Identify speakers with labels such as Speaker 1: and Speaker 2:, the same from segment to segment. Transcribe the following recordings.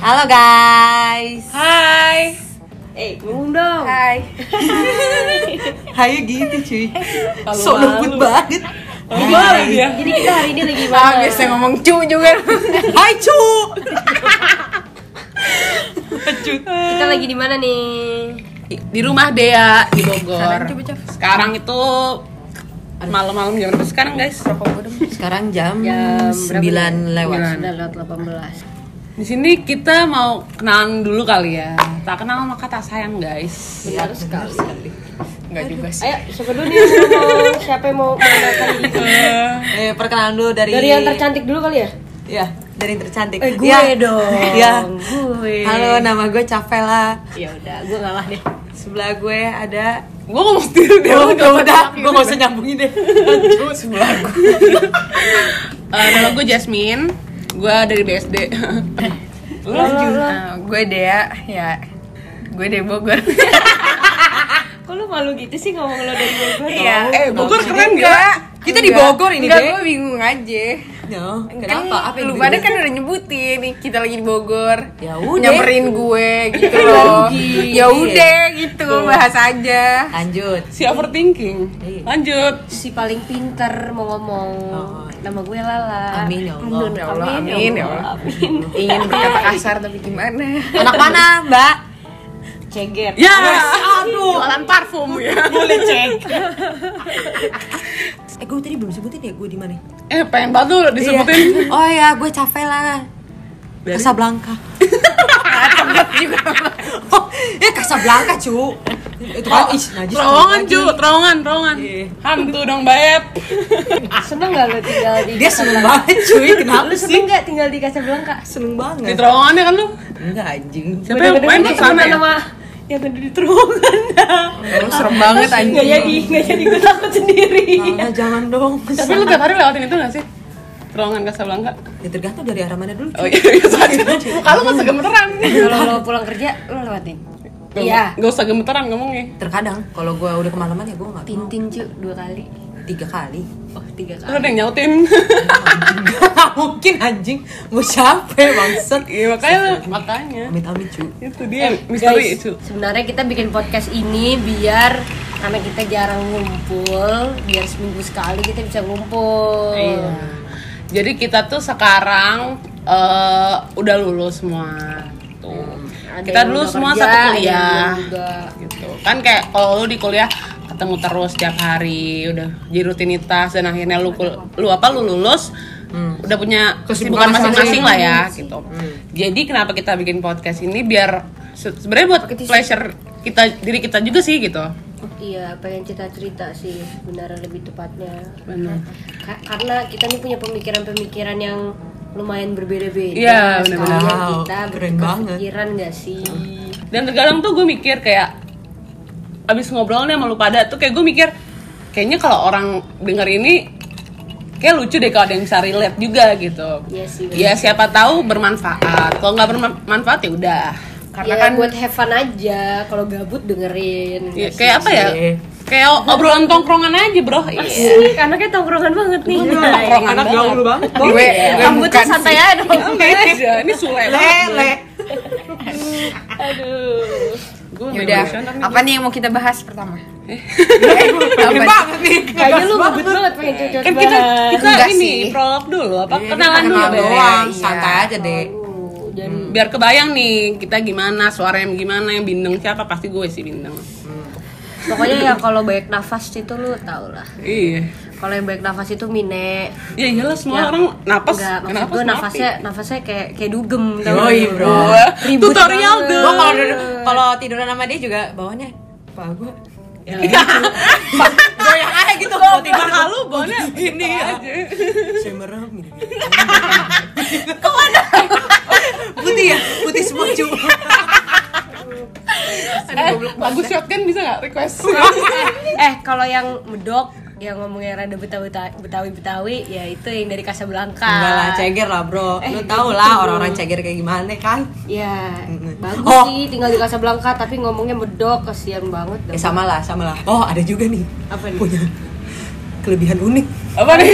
Speaker 1: Halo guys.
Speaker 2: Hai.
Speaker 1: Eh,
Speaker 2: Ngomong dong.
Speaker 1: hai. Hai gitu cuy. So lembut banget.
Speaker 2: Gimana dia?
Speaker 3: Jadi kita hari ini lagi
Speaker 1: Ah,
Speaker 3: mana?
Speaker 1: biasa ngomong cu juga. Hai cu.
Speaker 3: Kita lagi di mana nih?
Speaker 2: Di rumah Dea di Bogor. Sekarang itu malam-malam jam berapa sekarang guys?
Speaker 1: Sekarang jam, ya?
Speaker 3: Jam berapa
Speaker 1: 9 lewat.
Speaker 3: Sudah lewat 18.
Speaker 2: Di sini kita mau kenalan dulu kali ya. Tak kenal maka tak sayang guys.
Speaker 3: Benar sekali.
Speaker 2: Enggak juga sih.
Speaker 3: Ayo, siapa dulu nih yang mau siapa yang mau mengenalkan diri?
Speaker 1: Eh, perkenalan dulu dari
Speaker 3: Dari yang tercantik dulu kali ya?
Speaker 1: Ya, dari yang tercantik.
Speaker 3: Eh, gue
Speaker 1: Ya.
Speaker 3: dong.
Speaker 1: Ya.
Speaker 3: Gue.
Speaker 1: Halo, nama gue Cavela.
Speaker 3: Ya udah, gue ngalah deh.
Speaker 1: Sebelah gue ada
Speaker 2: Gue ngomong sendiri deh. lu
Speaker 1: Oh, udah,
Speaker 2: nggak
Speaker 1: udah,
Speaker 2: usah
Speaker 1: gue gak usah nyambungin deh
Speaker 2: Eh, nama gue Jasmine. Gue dari BSD. Lu lanjut.
Speaker 4: Eh, gue Dea ya gue dari Bogor
Speaker 3: Kok lu malu gitu sih ngomong lo dari Bogor?
Speaker 4: Iya.
Speaker 2: Eh, Bogor keren
Speaker 4: Enggak.
Speaker 2: gak? Kita di Bogor ini
Speaker 4: Enggak,
Speaker 2: deh.
Speaker 4: gue bingung aja
Speaker 1: No,
Speaker 4: kan
Speaker 1: Ya, kenapa? Apa yang
Speaker 4: lu
Speaker 1: dibeda-
Speaker 4: pada kan udah nyebutin nih kita lagi di Bogor
Speaker 1: Ya udah.
Speaker 4: nyamperin gue gitu loh
Speaker 1: Rugi.
Speaker 4: ya udah gitu bahas aja
Speaker 1: Lanjut
Speaker 2: Si overthinking.
Speaker 1: Iya.
Speaker 2: Lanjut.
Speaker 3: Si paling pinter mau ngomong.
Speaker 1: Oh.
Speaker 3: Nama gue Lala.
Speaker 1: Amin ya Allah
Speaker 4: ya Allah amin ya Allah
Speaker 3: Amin.
Speaker 4: ingin berkata kasar tapi gimana
Speaker 1: Anak mana mbak?
Speaker 3: Ceger.
Speaker 2: Ya, aduh. Jualan parfum ya. Boleh cek.
Speaker 1: Eh gue tadi belum sebutin ya gue di mana?
Speaker 2: Eh, pengen banget tuh disebutin.
Speaker 1: Iya. Oh ya gue Cavela
Speaker 2: Dari?
Speaker 1: Casablanca juga oh, Eh Casablanca cu Itu kan ish najis
Speaker 2: Oh, Terowongan
Speaker 1: lagi.
Speaker 2: cu, terowongan, terowongan
Speaker 1: Iya.
Speaker 2: Hantu dong Baep
Speaker 3: Seneng gak lo tinggal di
Speaker 1: Dia seneng
Speaker 3: Casablanca?
Speaker 1: banget cuy Kenapa
Speaker 3: Lu
Speaker 1: sih?
Speaker 3: seneng gak tinggal di Casablanca?
Speaker 1: Seneng
Speaker 2: Di
Speaker 1: banget
Speaker 2: terowongannya kan lu
Speaker 1: Enggak anjing
Speaker 2: Siapa yang main ke sana ya?
Speaker 3: Nama yang ada di terowongan
Speaker 4: Lu serem banget
Speaker 3: Gak
Speaker 1: iya,
Speaker 4: anjing
Speaker 3: jadi, gak jadi gue takut sendiri
Speaker 1: Nah, jangan dong
Speaker 2: Tapi lu tiap hari lewatin itu gak sih? Terowongan Casablanca
Speaker 1: Ya tergantung dari arah mana dulu
Speaker 2: Oh iya, iya saja Muka lu gak usah gemeteran
Speaker 3: Kalau lo pulang kerja, lo lewatin?
Speaker 2: Gak-
Speaker 3: Iya.
Speaker 2: Gak usah gemeteran ngomongnya
Speaker 1: Terkadang kalau gue udah kemalaman ya gue gak mau
Speaker 3: Tintin cu, dua kali
Speaker 1: Tiga kali
Speaker 3: Oh, tiga
Speaker 2: Lu ada yang nyautin
Speaker 1: Gak mungkin anjing Gue capek bangset
Speaker 2: Iya makanya lu, makanya
Speaker 1: Amit-amit cu
Speaker 2: Itu dia
Speaker 3: Eh,
Speaker 2: misteri cu
Speaker 3: sebenarnya kita bikin podcast ini biar karena kita jarang ngumpul, biar seminggu sekali kita bisa ngumpul.
Speaker 2: Iya. Jadi kita tuh sekarang eh, udah lulus semua tuh.
Speaker 3: Hmm. Ada
Speaker 2: Kita
Speaker 3: yang
Speaker 2: dulu
Speaker 3: udah
Speaker 2: semua
Speaker 3: kerja,
Speaker 2: satu
Speaker 3: ada yang
Speaker 2: kuliah.
Speaker 3: belum juga.
Speaker 2: gitu kan kayak kalau lu di kuliah ketemu terus tiap hari udah jadi rutinitas dan akhirnya lu kul- lu apa lu lulus udah punya Hmm. kesibukan
Speaker 4: Kesibukan
Speaker 2: masing-masing lah ya gitu jadi kenapa kita bikin podcast ini biar se- sebenarnya buat pleasure kita diri kita juga sih gitu
Speaker 3: Iya, pengen cerita-cerita sih sebenarnya lebih tepatnya.
Speaker 2: benar
Speaker 3: Ka- karena kita nih punya pemikiran-pemikiran yang lumayan berbeda-beda.
Speaker 2: Iya,
Speaker 3: Sekalian
Speaker 1: benar-benar. Wow,
Speaker 3: kita
Speaker 1: keren
Speaker 3: bertukar
Speaker 1: banget.
Speaker 3: pikiran gak sih?
Speaker 2: dan terkadang tuh gue mikir kayak abis ngobrol nih sama lu pada tuh kayak gue mikir kayaknya kalau orang denger ini kayak lucu deh kalau ada yang bisa relate juga gitu
Speaker 3: Iya sih.
Speaker 2: Ya siapa tahu bermanfaat. Kalau nggak bermanfaat ya udah. Karena
Speaker 3: ya,
Speaker 2: kan
Speaker 3: buat have fun aja, kalau gabut dengerin.
Speaker 2: ya, kayak apa ya?
Speaker 1: Iya.
Speaker 2: Kayak obrolan tongkrongan aja, Bro. Iya.
Speaker 3: Sih, karena kayak tongkrongan banget nih. Nah,
Speaker 2: Tongkrongan
Speaker 1: Anak
Speaker 2: banget.
Speaker 1: gaul banget
Speaker 4: gue gue
Speaker 3: Rambutnya
Speaker 4: bukan
Speaker 3: santai aja dong.
Speaker 2: Oke, aja. Ini Sule.
Speaker 1: Lele
Speaker 3: Aduh.
Speaker 2: Ya, Gue
Speaker 4: Yaudah, apa nih yang mau kita bahas pertama?
Speaker 1: Gede banget nih
Speaker 3: Kayaknya lu gabut banget pengen cocok
Speaker 2: Kan kita kita
Speaker 4: Enggak
Speaker 2: ini
Speaker 4: sih.
Speaker 2: prolog dulu apa
Speaker 1: Iya,
Speaker 2: kenalan
Speaker 1: kita
Speaker 2: dulu
Speaker 1: kenal
Speaker 2: Be.
Speaker 1: doang,
Speaker 4: Iya.
Speaker 1: santai aja deh.
Speaker 3: gitu. Jadi
Speaker 2: Biar kebayang nih kita gimana, suara yang gimana, yang bindeng siapa pasti gue sih bindeng.
Speaker 3: pokoknya ya kalau banyak nafas itu lu tau lah.
Speaker 2: Iya.
Speaker 3: Kalau yang banyak nafas itu mine.
Speaker 2: Ya iyalah semua orang napas,
Speaker 3: Enggak, maksud
Speaker 2: kenapa
Speaker 3: gue nafasnya nafasnya kayak kayak dugem tau gak
Speaker 1: Yoi,
Speaker 3: lu?
Speaker 1: bro.
Speaker 3: Ribut
Speaker 2: Tutorial
Speaker 3: banget.
Speaker 1: Gua
Speaker 2: dong.
Speaker 1: kalau duduk- kalau tiduran sama dia juga bawahnya apa gua
Speaker 2: gitu.
Speaker 1: goyang aja gitu kalau tidur
Speaker 2: Tiba lu boleh gini aja.
Speaker 1: saya merem gini. putih ya putih semua cuma
Speaker 2: Eh, lagu shotgun bisa nggak request?
Speaker 3: Eh, kalau yang medok yang ngomongnya rada betawi betawi betawi ya itu yang dari Casablanca.
Speaker 1: enggak lah ceger lah bro lu tau lah orang-orang ceger kayak gimana kan
Speaker 3: Ya,
Speaker 1: Mm-mm.
Speaker 3: bagus
Speaker 1: Oh.
Speaker 3: sih tinggal di Casablanca tapi ngomongnya medok kasihan banget
Speaker 1: ya
Speaker 3: dong.
Speaker 1: sama lah sama lah oh ada juga nih
Speaker 3: Apa nih?
Speaker 1: punya kelebihan unik
Speaker 2: Apa nih?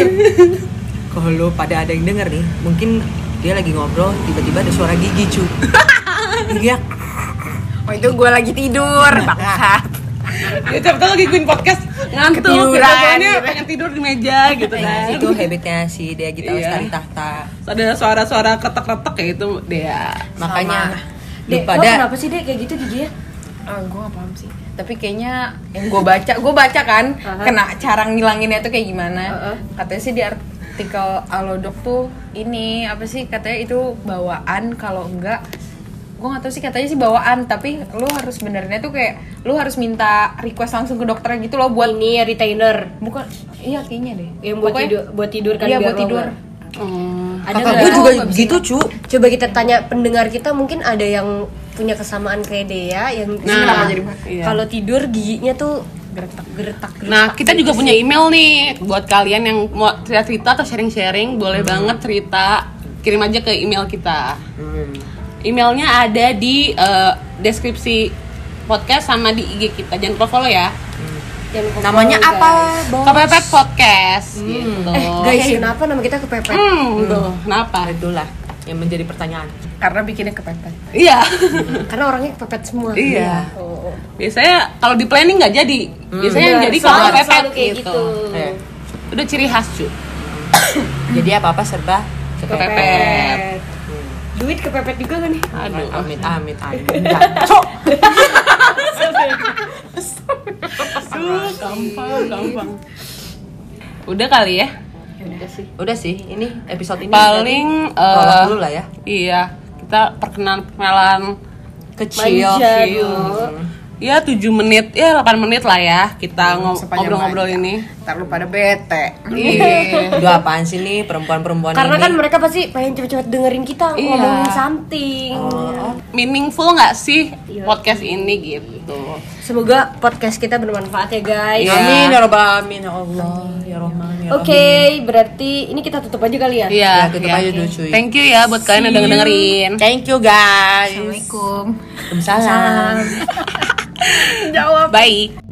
Speaker 1: kalau pada ada yang denger nih mungkin dia lagi ngobrol tiba-tiba ada suara gigi cu iya Nah,
Speaker 4: Oh itu gue lagi tidur, bangsat.
Speaker 2: ya siapa tahu lagi guein podcast ngantuk
Speaker 4: Ketiduran,
Speaker 2: gitu soalnya
Speaker 4: gitu.
Speaker 2: pengen tidur di meja gitu kan
Speaker 1: nah, itu habitnya si dia gitu
Speaker 2: Iya.
Speaker 1: Lestari Tahta
Speaker 2: Terus ada suara-suara kretek-kretek ya itu dia
Speaker 3: Dek,
Speaker 1: makanya
Speaker 3: lo
Speaker 1: daripada
Speaker 3: kenapa sih dek kayak gitu giginya?
Speaker 4: gue gak paham sih. Tapi kayaknya yang gue baca, gue baca kan,
Speaker 3: Aha.
Speaker 4: kena cara ngilanginnya tuh kayak gimana?
Speaker 3: Heeh.
Speaker 4: Katanya sih di artikel Alodok tuh ini apa sih katanya itu bawaan kalau enggak gue gak tau sih katanya sih bawaan tapi lu harus benernya tuh kayak lu harus minta request langsung ke dokter gitu loh buat
Speaker 3: Ini retainer
Speaker 4: bukan iya kayaknya deh
Speaker 3: yang buat
Speaker 4: Pokoknya-
Speaker 3: tidur, buat tidur kan
Speaker 4: iya
Speaker 3: biar
Speaker 4: buat
Speaker 3: lo
Speaker 4: tidur
Speaker 3: nggak- Ada
Speaker 1: Oh. kakak
Speaker 3: nggak?
Speaker 1: gue juga
Speaker 4: nggak bisa
Speaker 1: gitu cu
Speaker 3: Coba kita tanya pendengar kita mungkin ada yang punya kesamaan kayak Dea yang
Speaker 2: Nah,
Speaker 3: suka
Speaker 2: jadi bahas- iya.
Speaker 3: kalau tidur giginya tuh geretak geretak.
Speaker 2: Nah, kita juga punya email nih buat kalian yang mau cerita-cerita atau sharing-sharing, boleh banget cerita. Kirim aja ke email kita.
Speaker 1: Hmm.
Speaker 2: Emailnya ada di eh, deskripsi podcast sama di IG kita. Jangan lupa follow ya.
Speaker 3: Jangan lupa
Speaker 1: namanya
Speaker 3: follow,
Speaker 1: apa
Speaker 3: guys.
Speaker 1: Bo?
Speaker 2: Kepepet Podcast gitu.
Speaker 3: Oh, Eh guys, kenapa nama kita kepepet?
Speaker 2: Hmm, tuh, kenapa?
Speaker 1: itulah yang menjadi pertanyaan
Speaker 4: karena bikinnya kepepet
Speaker 2: Iya.
Speaker 3: Karena orangnya kepepet semua.
Speaker 2: Iya.
Speaker 3: Oh.
Speaker 2: Biasanya kalau di planning nggak jadi.
Speaker 1: Hmm.
Speaker 2: Biasanya
Speaker 1: Iya,
Speaker 2: yang
Speaker 3: Benar,
Speaker 2: jadi kalau
Speaker 3: Iya, selalu-
Speaker 2: kepepet
Speaker 3: selalu kayak
Speaker 2: gitu.
Speaker 3: gitu.
Speaker 1: Eh,
Speaker 2: Udah ciri khas, cuy.
Speaker 1: jadi apa apa serba
Speaker 2: Kepepet.
Speaker 3: Duit kepepet juga kan nih?
Speaker 2: Aduh.
Speaker 1: amit amit amit Cuk.
Speaker 2: Aduh, gampang, gampang. Udah kali ya?
Speaker 1: udah sih ini episode ini
Speaker 2: Paling,
Speaker 1: tadi prolog
Speaker 2: eh,
Speaker 1: dulu lah ya
Speaker 2: Iya, kita perkenalan-perkenalan
Speaker 1: kecil
Speaker 3: Manja
Speaker 2: kecil.
Speaker 3: dong.
Speaker 2: Ya 7 menit, ya 8 menit lah ya kita ngo-
Speaker 1: Hmm,
Speaker 4: sepanjang
Speaker 2: ngobrol-ngobrol ini.
Speaker 4: ntar lu pada bete
Speaker 2: Iya.
Speaker 1: udah apaan sih nih perempuan perempuan
Speaker 3: Karena
Speaker 1: ini
Speaker 3: kan mereka pasti pengen cepet-cepet dengerin kita
Speaker 2: Iya. Oh,
Speaker 3: ngomongin something. Iya.
Speaker 2: Meaningful nggak sih
Speaker 1: Iya.
Speaker 2: podcast ini gitu?
Speaker 3: Semoga podcast kita bermanfaat ya guys.
Speaker 2: Iya.
Speaker 1: amin ya robbal alamin ya allah ya rahman ya
Speaker 3: Oke, berarti ini kita tutup aja kali ya.
Speaker 2: Iya,
Speaker 1: Ya, tutup
Speaker 2: iya.
Speaker 1: aja dulu, cuy.
Speaker 2: Thank you ya buat kalian yang udah dengerin.
Speaker 1: rahim. thank you guys
Speaker 4: assalamualaikum
Speaker 1: Waalaikumsalam
Speaker 4: jawab
Speaker 2: Bye.